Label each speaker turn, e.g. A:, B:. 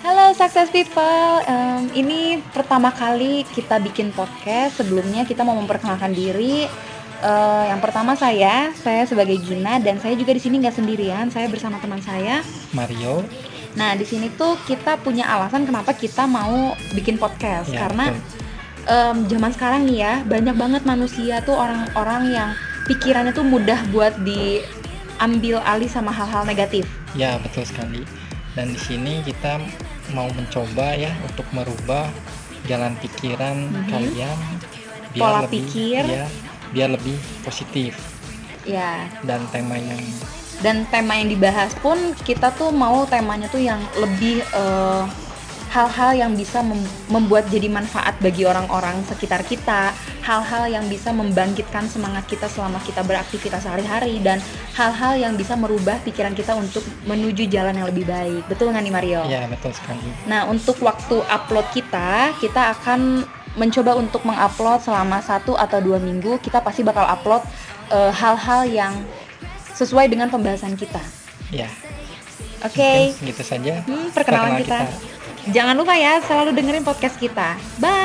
A: Halo Success People, Em, ini pertama kali kita bikin podcast. Sebelumnya kita mau memperkenalkan diri. Eh, yang pertama saya, saya sebagai Gina dan saya juga di sini nggak sendirian. Saya bersama teman saya.
B: Mario
A: Nah di sini tuh kita punya alasan kenapa kita mau bikin podcast
B: Ya,
A: karena
B: betul.
A: em, zaman sekarang nih ya banyak banget manusia tuh orang-orang yang pikirannya tuh mudah buat diambil alih sama hal-hal negatif.
B: ya betul sekali dan di sini kita mau mencoba ya untuk merubah jalan pikiran
A: Mhm.
B: kalian
A: Pola pikir.
B: ya, biar lebih positif
A: Ya
B: dan tema yang
A: dan tema yang dibahas pun kita tuh mau temanya tuh yang lebih eh, hal-hal yang bisa mem- membuat jadi manfaat bagi orang-orang sekitar kita, hal-hal yang bisa membangkitkan semangat kita selama kita beraktivitas sehari-hari dan hal-hal yang bisa merubah pikiran kita untuk menuju jalan yang lebih baik. Betul nggak nih Mario?
B: ya betul sekali
A: Nah, untuk waktu upload kita, kita akan mencoba untuk mengupload selama satu atau dua minggu. Kita pasti bakal upload eh, hal-hal yang sesuai dengan pembahasan kita.
B: ya
A: Oke,
B: mungkin segitu saja
A: Hmm, perkenalan kita. Jangan lupa ya, selalu dengerin podcast kita. Bye.